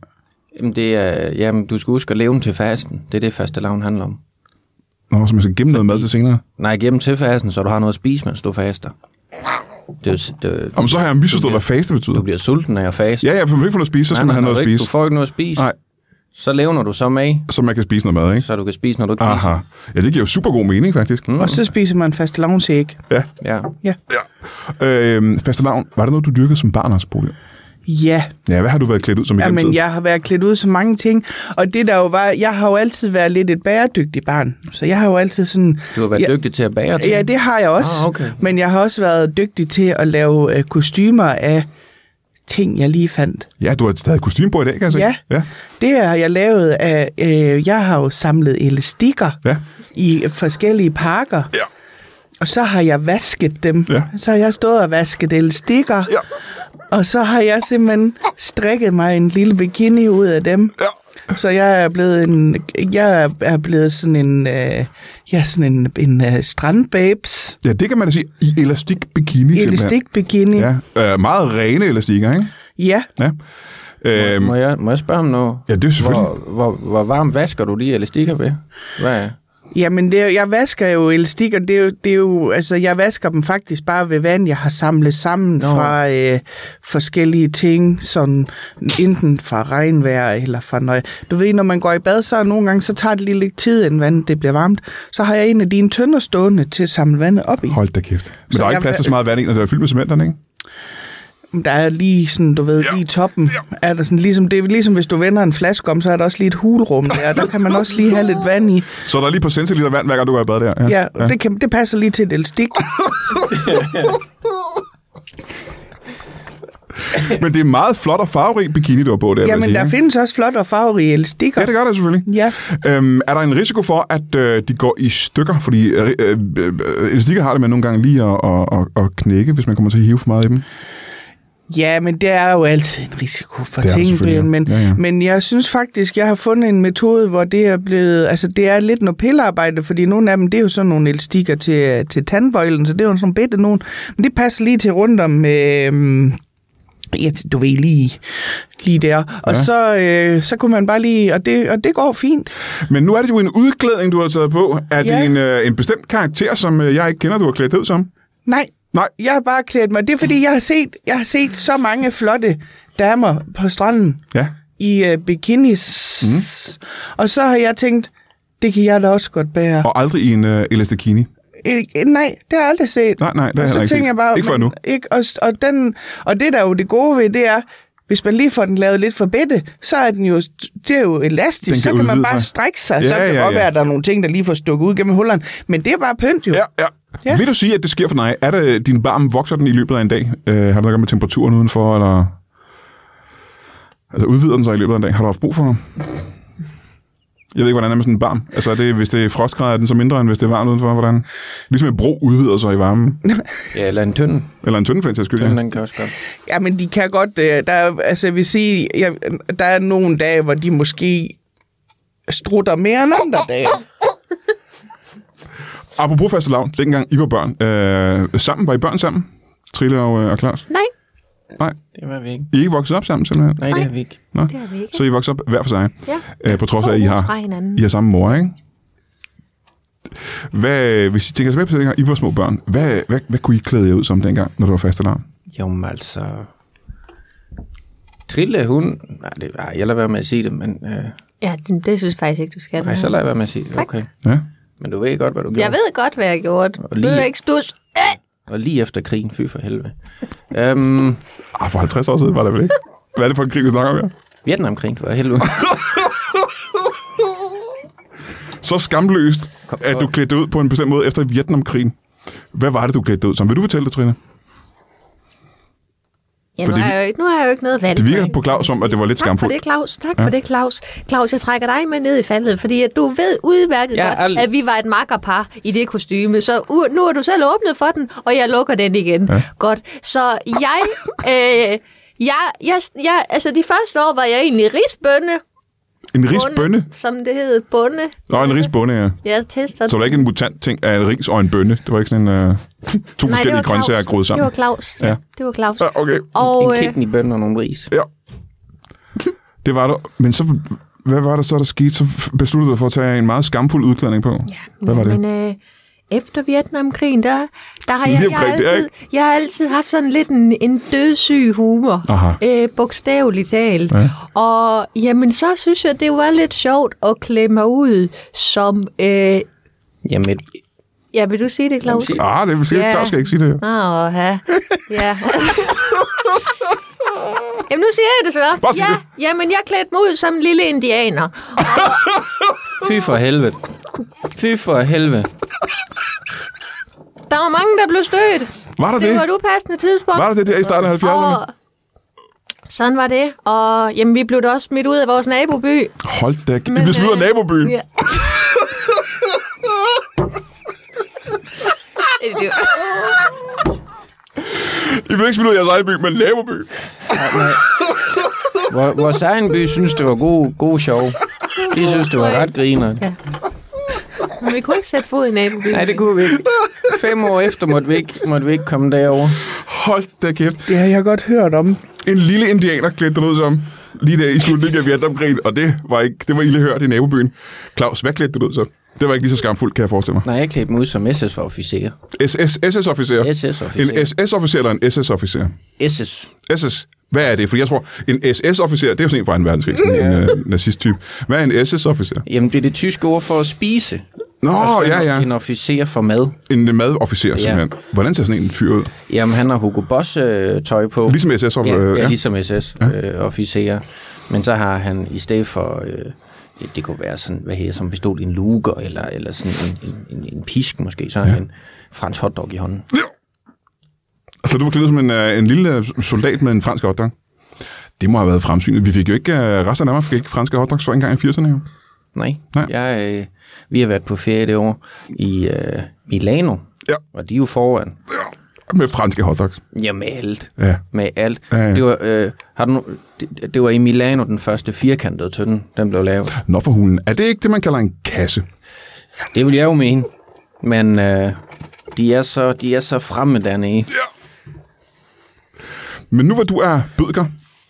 Jamen, det er, jamen, du skal huske at leve til fasten. Det er det, faste lavn handler om.
Nå, så man skal gemme noget mad til senere.
Nej, gennem til fasten, så du har noget at spise, mens du faster. Det, er jo s- det,
Om så har jeg misforstået, hvad faste betyder.
du bliver sulten af at faste.
Ja, ja, for man ikke får noget at spise, så skal man have noget at
ikke,
spise.
Du får ikke noget at spise.
Nej,
Så levner du så med,
så man kan spise noget mad, ikke?
så du kan spise, når du ikke spiser.
Aha. Ja, det giver jo super god mening, faktisk. Mm.
Og så spiser man fast lavnsæg.
Ja.
Ja.
Øhm, faste var det noget, du dyrkede som barn, Lars Bolig?
Ja,
Ja, hvad har du været klædt ud som i gennem
Jamen,
tiden?
jeg har været klædt ud så mange ting, og det der jo var, jeg har jo altid været lidt et bæredygtigt barn, så jeg har jo altid sådan...
Du har været
Ja.
dygtig til at bage ting.
Ja, det har jeg også,
Ah, okay.
men jeg har også været dygtig til at lave øh, kostymer af ting, jeg lige fandt.
Ja, du har taget kostume på i dag, kan jeg se.
Ja.
Altså, ja.
Det har jeg lavet af... Øh, jeg har jo samlet elastikker
Ja.
i forskellige parker,
Ja.
og så har jeg vasket dem.
Ja.
Så har jeg stået og vasket elastikker,
Ja.
og så har jeg simpelthen strikket mig en lille bikini ud af dem.
Ja.
Så jeg er blevet en, jeg er blevet sådan en, øh, jeg er sådan en, en øh, strandbabes,
Ja, det kan man da sige. I elastik bikini. simpelthen.
elastik bikini.
Ja,
Ja.
øh, meget rene elastikker, ikke?
ja.
Ja. Øhm,
Må jeg, må jeg spørge om noget?
ja, det er selvfølgelig.
Hvor, hvor, hvor varm vasker du lige elastikker ved? Hvad er?
Jamen, det, er jo- jeg vasker jo elastikker, det er jo, det er jo, altså, jeg vasker dem faktisk bare ved vand, jeg har samlet sammen Nå. fra øh, forskellige ting, sådan enten fra regnvejr eller fra noget. Du ved, når man går i bad, så er nogle gange, så tager det lige lidt tid, inden vandet det bliver varmt. Så har jeg en af dine tønder stående til at samle vandet op i.
Hold da kæft. Men
Så
der er
jeg-
ikke plads til så meget vand i, når det er fyldt med cementerne, ikke?
Der er lige sådan, du ved,
Ja.
ja. lige i toppen. Ja. Er der sådan, ligesom, det er ligesom, hvis du vender en flaske om, så er der også lige et hulrum der. Der kan man også lige have lidt vand i.
Så der er lige på centiliter vand, hver gang du går i bad der.
Ja, ja. Det, kan, det passer lige til et elastik.
Men det er meget flot og farverig bikini, du har på der. vil jeg
Jamen,
sige,
der
ikke?
findes også flotte og farverige elastikker.
Ja, det gør der selvfølgelig.
Ja.
Øhm, er der en risiko for, at øh, de går i stykker? Fordi øh, øh, øh, elastikker har det med nogle gange lige at, at, at, at knække, hvis man kommer til at hive for meget i dem.
ja, men det er jo altid en risiko for
Det er der
ting,
selvfølgelig, ja.
men,
Ja, ja.
men jeg synes faktisk, jeg har fundet en metode, hvor det er blevet, altså det er lidt noget pillearbejde, fordi nogle af dem, det er jo sådan nogle elastikker til, til tandbøjlen, så det er jo sådan nogle bitte nogen, men det passer lige til rundt om, øh, ja, du ved, lige, lige der. Og
Ja.
ja. så, øh, så kunne man bare lige, og det, og det går fint.
Men nu er det jo en udklædning, du har taget på. Er det
Ja.
en, øh, en bestemt karakter, som øh, jeg ikke kender, du har klædt ud som?
Nej,
Nej.
jeg har bare klædt mig. Det er fordi, jeg har set, jeg har set så mange flotte damer på stranden
Ja.
i øh, bikinis. Mm. Og så har jeg tænkt, det kan jeg da også godt bære.
Og aldrig i en øh, elastikini.
Øh, øh, nej, det har jeg aldrig set.
Nej, nej, det har jeg
og
heller
så
ikke set.
tænker jeg bare,
Ikke før
men-
nu.
Ikke, og, og, den, og det, der er jo det gode ved, det er, hvis man lige får den lavet lidt for bitte, så er den jo, det er jo elastisk,
Den kan
så kan man
udvide
bare
sig.
strække sig.
Ja,
så kan det
ja,
godt
ja.
være, at der er nogle ting, der lige får stukket ud gennem hullerne. Men det er bare pynt jo.
Ja, ja. ja.
Ja.
Vil du sige, at det sker for dig? Er det, din varme vokser den i løbet af en dag? Øh, har det noget at gøre med temperaturen udenfor, eller... Altså udvider den sig i løbet af en dag? Har du haft brug for Jeg ved ikke, hvordan det er med sådan en barm. Altså, er det, hvis det er frostgrader, er den så mindre, end hvis det er varmt udenfor? Hvordan? Ligesom en bro udvider sig i varmen.
Ja, eller en tynde.
Eller en tynde, for den sags skyld.
Tynde,
Ja.
den kan også godt.
Ja, men de kan godt... øh, Der, er- altså, jeg vil sige, jeg, der er nogle dage, hvor de måske strutter mere end andre dage.
Apropos faste lavn, dengang I var børn. Øh, sammen, var I børn sammen? Trille og, øh, og Claus?
Nej,
Det var vi ikke.
I er ikke vokset op sammen, simpelthen?
Nej, det er vi ikke.
Nå?
det er vi ikke.
Så I er vokset op hver for sig,
ja.
øh, på trods
To
af, at I
uger
har...
Fra hinanden.
I har samme mor, ikke? Hvad, hvis I tænker tilbage på dengang, I var små børn, hvad, hvad, hvad kunne I klæde jer ud som dengang, når du var fast alarm?
Jo, men altså... Trille, hun... Nej, det, nej, jeg lader være med at sige det, men... Øh,
Ja, det, det synes jeg faktisk ikke, du skal.
nej, så lader jeg være med at sige det. Okay.
Ja?
Men du ved godt, hvad du gjorde.
Jeg ved godt, hvad jeg gjorde.
lige-
Du er ikke stus. Øh!
Og lige efter krigen, fy for helvede. Øhm,
Ah, for 50 år siden var det vel ikke? Hvad er det for en krig, vi snakker om her?
Vietnamkrigen, for helvede.
Så skamløst, at du klædte dig ud på en bestemt måde efter Vietnamkrigen. Hvad var det, du klædte dig ud som? Vil du fortælle det, Trine?
Ja, nu,
Fordi
har
vi-
jeg jo ikke, nu har jeg jo ikke noget valg.
Det virker
Frank.
på Claus som, at det var lidt
Tak for
skamfuldt.
det, Claus. Tak ja. for det, Claus. Claus, jeg trækker dig med ned i faldet, fordi at du ved udmærket
Ja,
ja, godt,
al-
at vi var et makkerpar i det kostyme. Så u- nu har du selv åbnet for den, og jeg lukker den igen. Ja. Godt. Så jeg... Øh, jeg, jeg, jeg, altså de første år var jeg egentlig risbønde.
En risbønne?
Bonde, Som det hed, bunde.
Nå, en risbønne, ja.
Jeg tester
Så var det ikke en mutant ting af en ris og en bønne? Det var ikke sådan en, uh, to
Nej, det var
forskellige grøntsager
Claus.
groet sammen?
Det var Claus.
Ja.
Det var Claus.
Ja, okay.
Og,
en
øh,
kidneybønne og nogle ris.
Ja. Det var der. Men så, hvad var der så, der skete? Så f- besluttede du dig for at tage en meget skamfuld udklædning på. Ja, hvad var det?
Men øh, efter Vietnamkrigen, der, der har
Lige
jeg, jeg, har
omkring det,
altid, jeg har altid haft sådan lidt en, en dødssyg humor.
Aha.
Øh, bogstaveligt talt.
Ja.
Og jamen, så synes jeg, det var lidt sjovt at klæde mig ud som... Øh,
Jamen, et,
ja, vil du sige det, Claus?
Ah, det er sikkert,
øh, Ja.
yeah. der skal jeg ikke sige det.
Nå, ja. ja. Jamen, nu siger jeg det så.
Bare sig
ja,
det.
Jamen, jeg klædte mig ud som en lille indianer.
fy for helvede. Fy for helvede.
Der var mange, der blev stødt.
Var der det?
Det var et upassende tidspunkt.
Var der det der i starten af 70'erne?
Og sådan var det. Og jamen, vi blev da også smidt ud af vores naboby.
Hold da, I blev smidt ud af
øh,
nabobyen.
Ja. Det var-
I blev ikke smidt ud af jeres egen by, men naboby.
Vor- Vores egen by synes, det var god, god sjov. De synes, det var ret griner.
Men vi kunne ikke sætte fod i nabobyen.
Nej, det kunne vi ikke. Fem år efter måtte vi ikke, måtte vi ikke komme derover.
Hold da kæft.
Det har jeg godt hørt om.
En lille indianer klædte dig ud som lige der i slutningen af Vietnamkrigen, og det var, ikke, det var ilde hørt i nabobyen. Claus, hvad klædte du dig ud som? Det var ikke lige så skamfuldt, kan jeg forestille mig.
Nej, jeg klædte mig ud som SS-officer.
SS, SS-officer.
SS-officer.
En SS-officer eller en SS-officer?
SS.
SS, hvad er det? Fordi jeg tror, en SS-officer, det er jo sådan en fra en verdenskrig, sådan en øh, nazist-type. Hvad er en SS-officer?
Jamen, det er det tyske ord for at spise.
Nå, ja, ja.
Altså, En officer for mad.
En madofficer, simpelthen. Hvordan ser sådan en fyr ud?
Jamen, han har Hugo Boss-tøj på.
Ligesom SS-officer.
Ja,
Ja,
ja, ligesom SS-officerer. Men så har han i stedet for... Øh, ja, det kunne være sådan, hvad her, som bestod i en luger, eller, eller sådan en, en, en, en pisk måske, så har ja. han en fransk hotdog i hånden.
Så du var klædt som en, øh, en lille soldat med en fransk hotdog? Det må have været fremsynet. Vi fik jo ikke, øh, resten af Danmark fik ikke franske hotdogs før engang i 80'erne. Jo.
Nej,
Nej.
Nej. Jeg, øh, vi har været på ferie det år i øh, Milano,
Ja.
og de er jo foran.
Med franske hotdogs.
Ja, med alt.
Ja.
Med alt.
Ja, ja.
Det, var, øh, har du, nu- det, det var i Milano, den første firkantede tønde, den blev lavet.
Nå for hulen. Er det ikke det, man kalder en kasse?
Det vil jeg jo mene. Men øh, de, er så, de er så fremme dernede.
Men nu hvor du er bødker,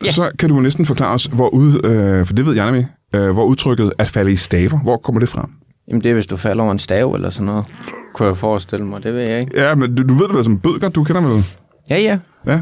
Ja.
så kan du jo næsten forklare os, hvor ud, øh, for det ved jeg nemlig, øh, hvor udtrykket at falde i staver, hvor kommer det fra?
Jamen det er, hvis du falder over en stav eller sådan noget. Kunne jeg forestille mig, det ved jeg ikke.
Ja, men du, du ved det vel som bødker, du kender vel,
Ja, ja.
ja,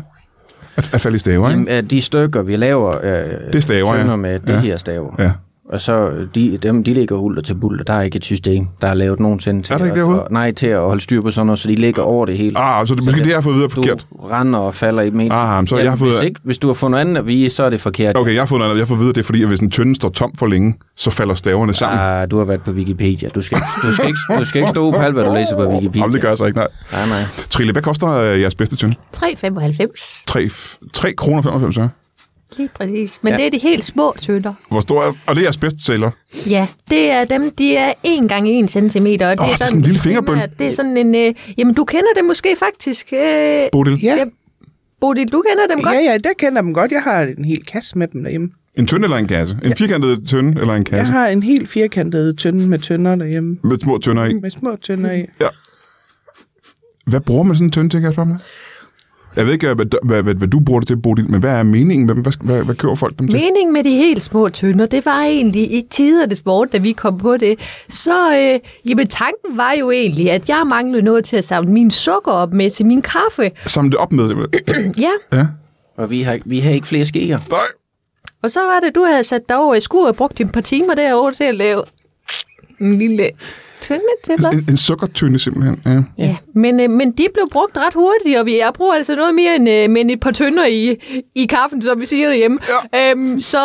at, at falde i staver, ikke?
Jamen, øh, de stykker, vi laver, øh,
Det er staver, ja.
tønder med det
Ja.
her staver.
Ja.
Og så, øh, de, dem, de ligger hulter til bulter. Der er ikke et system, der er lavet nogensinde til,
Er der ikke
at-
derude?
at- nej, til at holde styr på sådan noget, så de ligger over det hele.
Ah, så det er måske det, jeg har fået videre forkert.
Du render og falder i meter.
Ah, men så jeg har fået-
hvis, ikke, hvis du har fundet andet at vige, så er det forkert.
Okay, jeg har fundet noget, andet. jeg har fået videre, det er fordi, at hvis en tønde står tom for længe, så falder staverne sammen. Ah,
Ah, du har været på Wikipedia. Du skal, ikke- du skal ikke, du skal ikke stå på alt, hvad du læser på Wikipedia.
Jamen, det gør jeg så ikke, nej.
Nej, nej.
Trille, hvad koster øh, jeres bedste tønde?
3,95.
3, 3 kroner 95, ja.
Lige præcis. Men ja. det er de helt små tønder.
Hvor stor er, og det er jeres bestseller.
Ja, det er dem, de er 1 gange 1 cm. Og det,
Åh, det er sådan en lille fingerbøn.
primært- Det er sådan en... Øh, jamen, du kender det måske faktisk. Øh,
Bodil,
Ja,
Ja. Bodil, du kender dem godt.
ja, ja, der kender dem godt. Jeg har en hel kasse med dem derhjemme.
en tønde eller en kasse? En firkantet tønde eller en
Jeg
kasse?
har en helt firkantet tønde med tønder derhjemme.
Med små tønder i.
Med små tønder i.
Hvad bruger man sådan en tønde til, Kasper? Hamler? Jeg ved ikke, hvad, hvad, hvad, hvad, du bruger det til, Bodil, men hvad er meningen med dem? Hvad, hvad, hvad kører folk dem til?
Meningen med de helt små tønder, det var egentlig i tidernes morgen, da vi kom på det. Så øh, jamen, tanken var jo egentlig, at jeg manglede noget til at samle min sukker op med til min kaffe.
Samle det op med det?
Ja,
Ja.
Og vi har, ikke- vi har ikke flere skeer.
Nej.
og så var det, du havde sat dig over i skuret og brugt et par timer derovre til at lave en lille tønde til dig.
En, en sukkertønde simpelthen. Ja.
Ja, men, øh, men de blev brugt ret hurtigt, og vi, jeg bruger altså noget mere end, øh, men et par tønder i, i kaffen, som vi siger hjemme. Ja. Øhm, så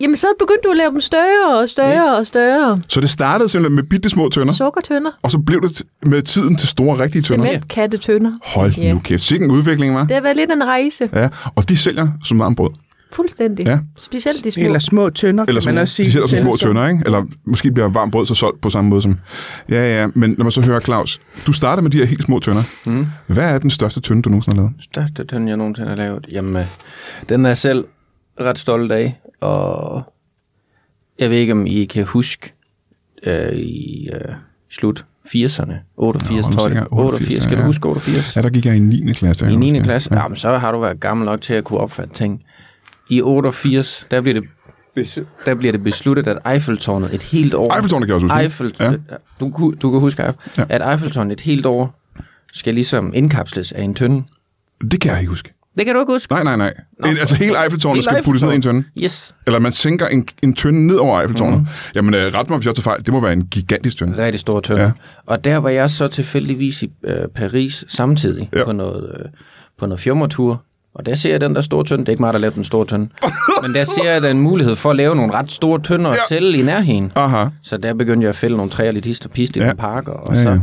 Jamen, så begyndte du at lave dem større og større og større.
Så det startede simpelthen med bitte små tønder,
Sukkertønder,
og så blev det t- med tiden til store, rigtige tønder.
cementkattetønder.
Hold
Ja.
nu kæft. Sikke en udvikling, var.
Det har været lidt af en rejse.
Ja, og de sælger som varmt brød.
Fuldstændig.
Ja.
Specielt de små.
Eller små tønder,
Eller
kan man også sige.
de sælger som små
Selv-
tønder, ikke? Eller måske bliver varmt brød så solgt på samme måde som... Ja, ja, men når man så hører Claus, du starter med de her helt små tønder. Mm. Hvad er den største tønde, du nogensinde har lavet?
Største tønde, jeg nogensinde har lavet. Jamen, øh, den er jeg selv ret stolt af, og jeg ved ikke, om I kan huske øh, i øh, slut 80'erne, 88,
Nå, nu
tror
tænker
jeg.
jeg 88,
88, kan du
ja.
huske 88?
Ja, der gik jeg i 9. klasse. kan
I
jeg
9.
huske.
klasse? Ja. Jamen, så har du været gammel nok til at kunne opfatte ting. I 88, der bliver det, der bliver det besluttet, at Eiffeltårnet et helt år...
Eiffeltårnet kan jeg også huske.
Eiffel,
Ja.
ja. du, ku- du kan huske, Eiffel,
Ja.
ja. at Eiffeltårnet et helt år skal ligesom indkapsles af en tønde.
Det kan jeg ikke huske.
Det kan du ikke huske.
Nej, nej, nej. Nå, altså hele Eiffeltårnet
Hele
skal puttes ned i en tønde.
Yes.
Eller man sænker en, en tønde ned over Eiffeltårnet.
Mm-hmm.
Mm. Jamen, øh, ret mig, hvis jeg tager fejl. Det må være en gigantisk tønde.
Rigtig store tønder.
Ja.
Ja. Og der var jeg så tilfældigvis i øh, Paris samtidig
Ja.
ja. på noget, øh, på noget fjummertur. Og der ser jeg den der store tønde. Det er ikke mig, der lavede den store tønde. Men der ser jeg den mulighed for at lave nogle ret store tønder ja. og sælge i nærheden.
Aha.
Så der begyndte jeg at fælde nogle træer lidt hist og pist i
Ja.
ja. nogle parker. Og
Ja,
ja,
ja.
ja.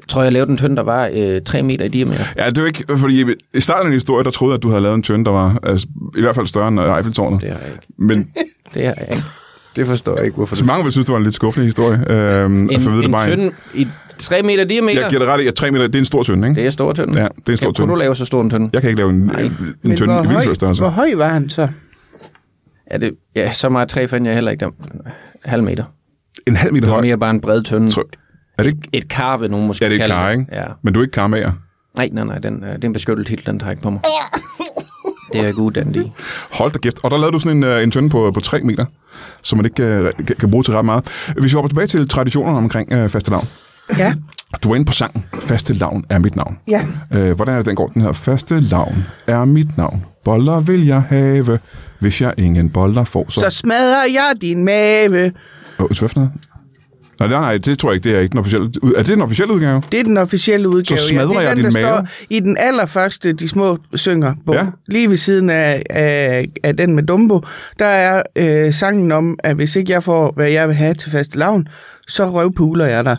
så tror jeg, jeg lavede en tønde, der var øh, 3 meter i diameter.
Ja, det er jo ikke, fordi i starten af din historie, der troede jeg, at du havde lavet en tønde, der var altså, i hvert fald større end øh, Eiffeltårnet.
Det har jeg ikke.
Men
Det har jeg ikke. Det forstår jeg ikke, hvorfor
så mange vil synes, det var en lidt skuffende historie. Øhm, at få at vide
En,
det
en
bare.
tønde i 3 meter i diameter,
Jeg giver dig ret i, at 3 meter, det er en stor tønde, ikke?
det er store tønde.
Ja, det er en stor
kan, Kunne
tønde.
du lave så stor en tønde?
Jeg kan ikke lave en, en, en
Men
tønde
hvor,
i
høj,
vildtøjstørrelse.
hvor høj var han så?
Er det, ja, så meget træ fandt jeg heller ikke. Der. Halv meter.
En halv meter
Det var
høj.
mere bare en bred tønde.
Tror- Er det ikke?
Et kar, vil nogen måske
Ja, det er et
kalde
kar, ikke?
Ja.
Men du er ikke karmager.
Nej, nej, nej, den, øh, det er en beskyttet titel, den tager ikke på mig. Det er jeg ikke uddannet i.
Hold da kæft. Og der lavede du sådan en, øh, en tønde på, på 3 meter, som man ikke øh, kan, kan bruge til ret meget. Hvis vi hopper tilbage til traditionerne omkring øh, faste navn.
Ja,
Du var inde på sangen. Faste lavn er mit navn.
ja.
Øh, hvordan er det, den går? Den her faste lavn er mit navn. Boller vil jeg have, hvis jeg ingen boller får. Så,
Så smadrer jeg din mave.
Åh, hvad for noget? Nej, nej, nej, det tror jeg ikke, det er ikke den officielle... ud- Er det den officielle udgave?
Det er den officielle udgave.
smadrer
ja. Det er
jeg
den,
din
der
mave.
Står I den allerførste, de små synger, på,
Ja.
ja. lige ved siden af, af, af den med Dumbo, der er øh, sangen om, at hvis ikke jeg får, hvad jeg vil have til faste lavn, så røvpuler jeg dig.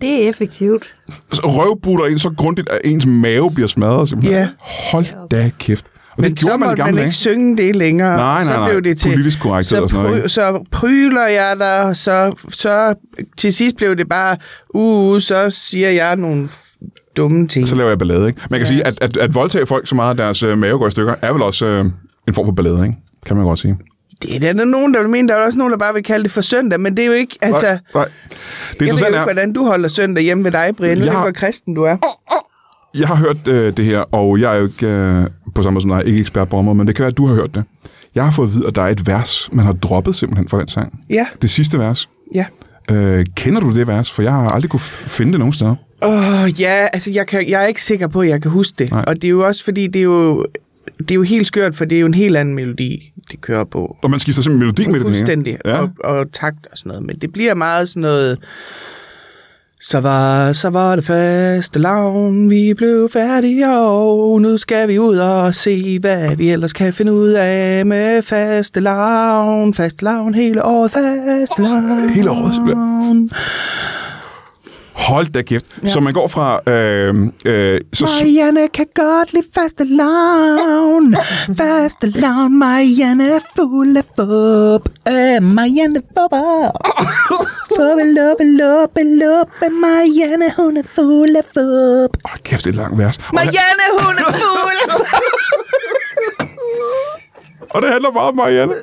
Det er effektivt.
Så Altså, røvbutter en så grundigt, at ens mave bliver smadret simpelthen.
Ja.
Hold da kæft. Og det
Men så
gjorde man i
måtte
gamle
man
dage.
ikke synge det længere.
Nej, nej,
så
nej.
blev det til,
Politisk korrekthed
så,
og sådan noget,
pry-
ikke?
så pryler jeg dig, og så, så til sidst blev det bare, uh, uh, så siger jeg nogle f- dumme ting.
Så laver jeg ballade, ikke? Man kan sige, at, at, at voldtage folk så meget, at deres øh, mave går i stykker, er vel også øh, en form for ballade, ikke? Kan man godt sige.
Det er der, der er nogen, der vil mene, der er også nogen, der bare vil kalde det for søndag, men det er jo ikke, altså...
nej, nej. Det
Jeg ved
interessante
ikke,
er,
hvordan du holder søndag hjemme ved dig, Brian. Jeg ved
Jeg
ikke,
har-
hvor kristen du er.
jeg har hørt øh, det her, og jeg er jo ikke øh, på samme måde som dig, ikke ekspert på området, men det kan være, at du har hørt det. Jeg har fået at vide, at der er et vers, man har droppet simpelthen fra den sang.
Ja,
Det sidste vers.
ja.
Øh, kender du det vers? For jeg har aldrig kunne f- finde det nogen steder.
Åh, oh, ja, altså jeg, kan, jeg er ikke sikker på, at jeg kan huske det.
Nej.
Nej. Og det er jo også, fordi det er jo, det er jo helt skørt, for det er jo en helt anden melodi, det kører på.
Og man skifter simpelthen melodi med det. ikke?
Fuldstændig.
Ja.
Og, og takt og sådan noget. Men det bliver meget sådan noget... Så var, så var det faste lavn, vi blev færdige, og nu skal vi ud og se, hvad vi ellers kan finde ud af med faste lavn, faste lavn, hele året, faste lavn.
Hele året, simpelthen. Hold da kæft. Ja. Så man går fra... Øh, øh, så s-
Marianne kan godt lide faste lavn. Faste lavn, Marianne er fuld af fup. Øh, Marianne fupper. Fuppe, luppe, luppe, luppe. Marianne, hun er fuld af fup.
Åh, kæft, det er et langt vers. Og, det-
Marianne, hun er fuld af fup.
og det handler meget om Marianne.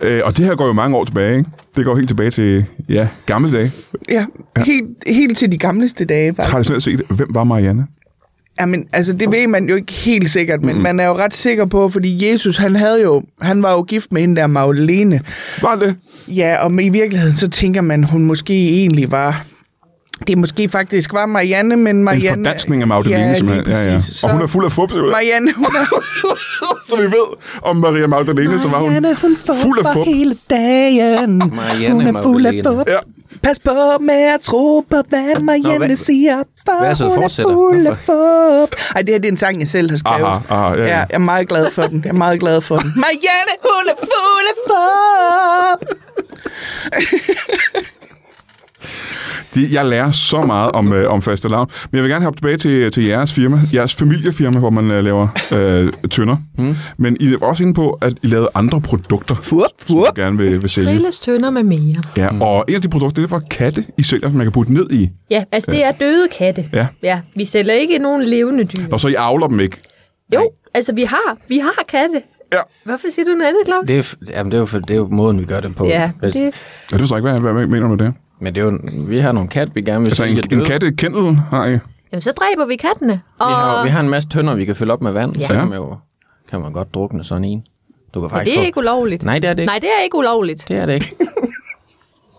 Øh, og det her går jo mange år tilbage, ikke? Det går helt tilbage til, ja, gamle dage.
Ja, helt, helt til de gamleste dage, faktisk.
Traditionelt set, hvem var Marianne?
Jamen, altså, det ved man jo ikke helt sikkert,
Mm-hmm.
men mm. man er jo ret sikker på, fordi Jesus, han havde jo, han var jo gift med en der Magdalene.
Var det?
Ja, og i virkeligheden, så tænker man, hun måske egentlig var... Det måske faktisk var Marianne, men
En
Marianne...
fordansning af Magdalene,
ja,
simpelthen.
lige
Ja, ja.
præcis.
Og hun
Så-
er fuld af fup, simpelthen.
Marianne, hun er...
så vi ved om Maria Magdalene, så var hun, fuld af fup.
hele dagen.
Marianne Hun er fuld af Magdalene. fup.
Ja.
Pas på med at tro på, hvad Marianne
hvad-
siger, for
verset
hun er
fortsætter.
fuld af fup. Ej, det her det er en sang, jeg selv har skrevet.
Aha, aha, ja, ja.
ja, jeg er meget glad for den. Jeg er meget glad for den. Marianne, hun er fuld af fup.
Det, jeg lærer så meget om, øh, om faste lavn. Men jeg vil gerne hoppe tilbage til, til jeres firma, jeres familiefirma, hvor man øh, laver øh, tønder. Mm. Men I er også inde på, at I lavede andre produkter,
Hmm. Fup,
som
fup. Hmm.
I gerne vil, vil sælge.
Trilles tønder med mere.
Ja, og en af de produkter, det er fra katte, I sælger, som man kan putte ned i.
Ja, altså det er døde katte.
Ja.
ja vi sælger ikke nogen levende dyr.
Og så I avler dem ikke.
Jo, altså vi har, vi har katte.
Ja.
Hvorfor siger du noget andet, Claus?
Det er, f- jamen, det er, jo, for- det er jo måden, vi gør det på.
Ja,
Hvis-
det,
Ja, det er så ikke, hvad, hvad hvad mener du med det?
Men det er jo, vi har nogle kat, vi gerne vil
Altså
sælge
en, en
døde.
kattekendel har I.
jamen, så dræber vi kattene. Og,
Vi har, vi har en masse tønder, vi kan fylde op med vand. Ja.
Ja.
Så kan man, jo, kan man godt drukne sådan en. Du kan
og
faktisk
det er
få-
ikke ulovligt.
Nej, det er det ikke.
Nej, det er ikke ulovligt.
Det er det ikke.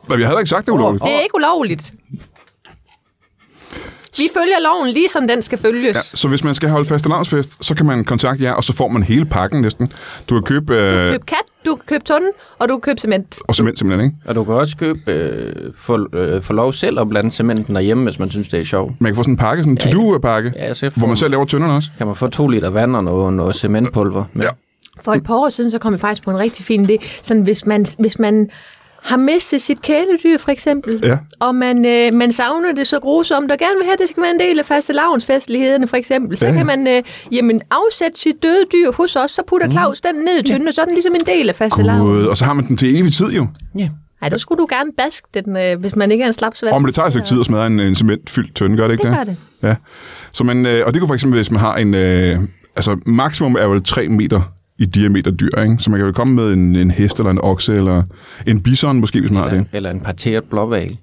Men jeg havde da ikke sagt, det er ulovligt.
Det er ikke ulovligt. Vi følger loven, ligesom den skal følges.
Ja, så hvis man skal holde faste lavnsfest, så kan man kontakte jer, og så får man hele pakken næsten. Du kan købe... Øh,
Køb kat, du kan købe tunden, og du kan købe cement.
og cement simpelthen, ikke?
Og du kan også købe, øh, få, øh, få lov selv at blande cementen derhjemme, hvis man synes, det er sjovt.
Man kan få sådan en pakke, sådan en to-do-pakke,
Ja, så får
hvor man
man-
selv laver tønderne også.
Kan man få to liter vand og noget, noget cementpulver? Med.
Ja.
For et par år siden, så kom jeg faktisk på en rigtig fin idé. Sådan, hvis man, hvis man har mistet sit kæledyr, for eksempel,
Ja.
og man, øh, man savner det så grusomt, og gerne vil have, at det skal være en del af faste lavnsfestlighederne, for eksempel, så
Ja, ja.
kan man øh, jamen, afsætte sit døde dyr hos os, så
Mm.
putter Claus den ned i tynden, og så er den ligesom en del af faste lavn.
God, og så har man den til evig tid jo.
Ja.
Ej, der skulle du gerne baske den, øh, hvis man ikke er en slapsvand.
Og men det tager altså ikke tid at smadre en, en cementfyldt tønde, gør det ikke
Det
det?
gør det.
Ja. Så man, øh, og det kunne for eksempel, hvis man har en... Øh, altså, maksimum er vel 3 meter i diameter dyr, ikke? Så man kan jo komme med en, en hest eller en okse eller en bison måske, hvis man har det.
Eller en parteret blåval.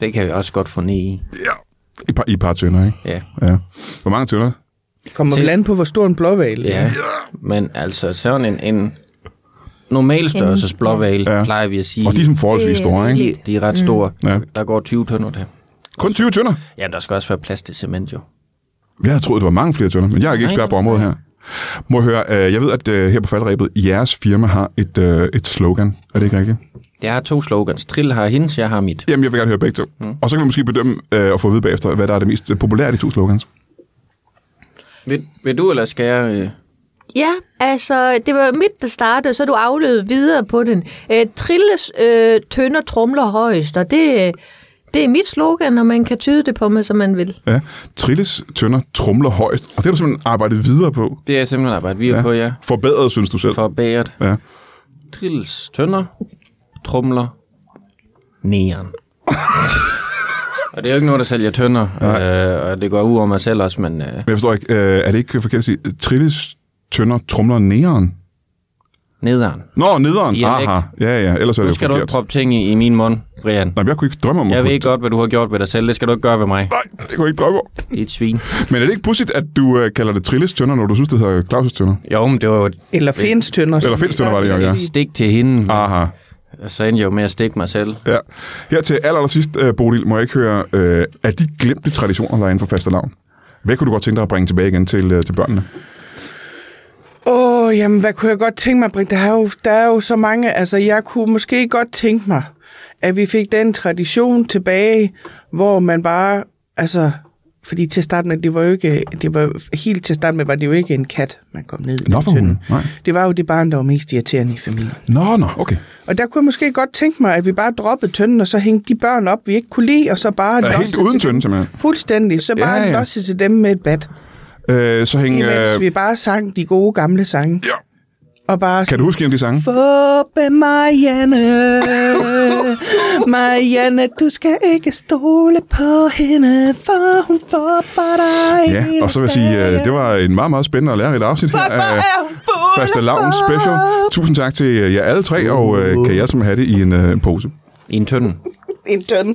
Det kan vi også godt få ned i.
Ja. I par, i par tønder, ikke?
Ja.
Ja. Hvor mange tønder?
Kommer vel an på, hvor stor en blåval
ja. Men altså, sådan en, en normal størrelses blåval,
Ja.
ja. plejer vi at sige,
Og de er sådan forholdsvis
Det er
store, ikke?
virkelig-
de er ret store.
Ja.
Der går 20 tønder der.
Kun 20 tønder?
Ja, der skal også være plads til cement, jo.
Jeg havde troet, det var mange flere tønder, men jeg er ikke
Nej,
ekspert på
nej,
området her. Må jeg høre, øh, jeg ved, at øh, her på faldrebet, jeres firma har et, øh, et slogan. Er det ikke rigtigt?
Jeg har to slogans. Trill har hendes, jeg har mit.
Jamen, jeg vil gerne høre begge to. Mm. Og så kan vi måske bedømme øh, og få at vide bagefter, hvad der er det mest øh, populære af de to slogans.
Vil, vil du, eller skal jeg... Øh...
Ja, altså, det var mit, der startede, så du aflød videre på den. Øh, trilles øh, tønder trumler højst, og det, øh, det er mit slogan, og man kan tyde det på mig, som man vil.
Ja. Trilles, tønder, trumler højst. Og det har du simpelthen arbejdet videre på.
Det er simpelthen arbejde
Ja.
videre ja. på, ja.
Forbedret, synes du selv. For...
For bæret.
Ja.
Trilles tønder, trumler, næren. og det er jo ikke noget, der sælger tønder, øh, og det går ud over mig selv også, men øh,
Men jeg forstår ikke, øh, er det ikke forkert at sige, øh, trilles, tønder, trumler, næren?
nederen.
Nå, nederen.
Dialekt.
Aha. Ja, ja. Ellers er det
Nu
jo
skal du ikke
forkert.
proppe ting i, i min mund, Brian.
Nej, men jeg kunne ikke drømme om
Jeg
at
ved godt, hvad du har gjort ved dig selv. Det skal du ikke gøre ved mig.
Nej, det kunne jeg ikke drømme om.
Det er et svin.
Men er det ikke pudsigt, at du øh, kalder det trilles tønder, når du synes, det hedder Claus' tønder?
Jo, men det var jo et
Eller finstønder.
Eller finstønder var det jo, ja.
stik til hende,
Aha.
og så endte jeg jo med at stikke mig selv.
Ja. Her til aller, aller sidst, øh, Bodil, må jeg ikke høre, øh, er de glemte traditioner, der er inden for fastelavn? Hvad kunne du godt tænke dig at bringe tilbage igen til, øh, til børnene?
Åh, oh, jamen, hvad kunne jeg godt tænke mig at bringe? Der er, jo, der er jo så mange, altså jeg kunne måske godt tænke mig, at vi fik den tradition tilbage, hvor man bare, altså, Fordi til at starte med, det var jo ikke, det var, helt til at starte med, var det jo ikke en kat, man kom ned i
Nå,
med
for
tønden.
hulen. Nej.
Det var jo det barn, der var mest irriterende i familien.
Nå, nå, okay.
Og der kunne jeg måske godt tænke mig, at vi bare droppede tønden, og så hængte de børn op, vi ikke kunne lide, og så bare...
Er helt
lossede
uden
til-
tønde, simpelthen.
Fuldstændig. Så bare
Ja,
ja,
ja.
ja. losse til dem med et bat.
Øh, så hæng...
Imens
Øh,
vi bare sang de gode gamle sange.
Ja.
Og bare
kan du huske en af de sange?
Forbe Marianne, Marianne, du skal ikke stole på hende, for hun forber dig
Ja, og så vil jeg sige, øh, det var en meget, meget spændende og lærerigt afsnit her. af- Faste Lavn Special. Tusind tak til øh, jer alle tre, og øh, kan jeg som have det i en øh, en pose.
I en tønde.
En tønde.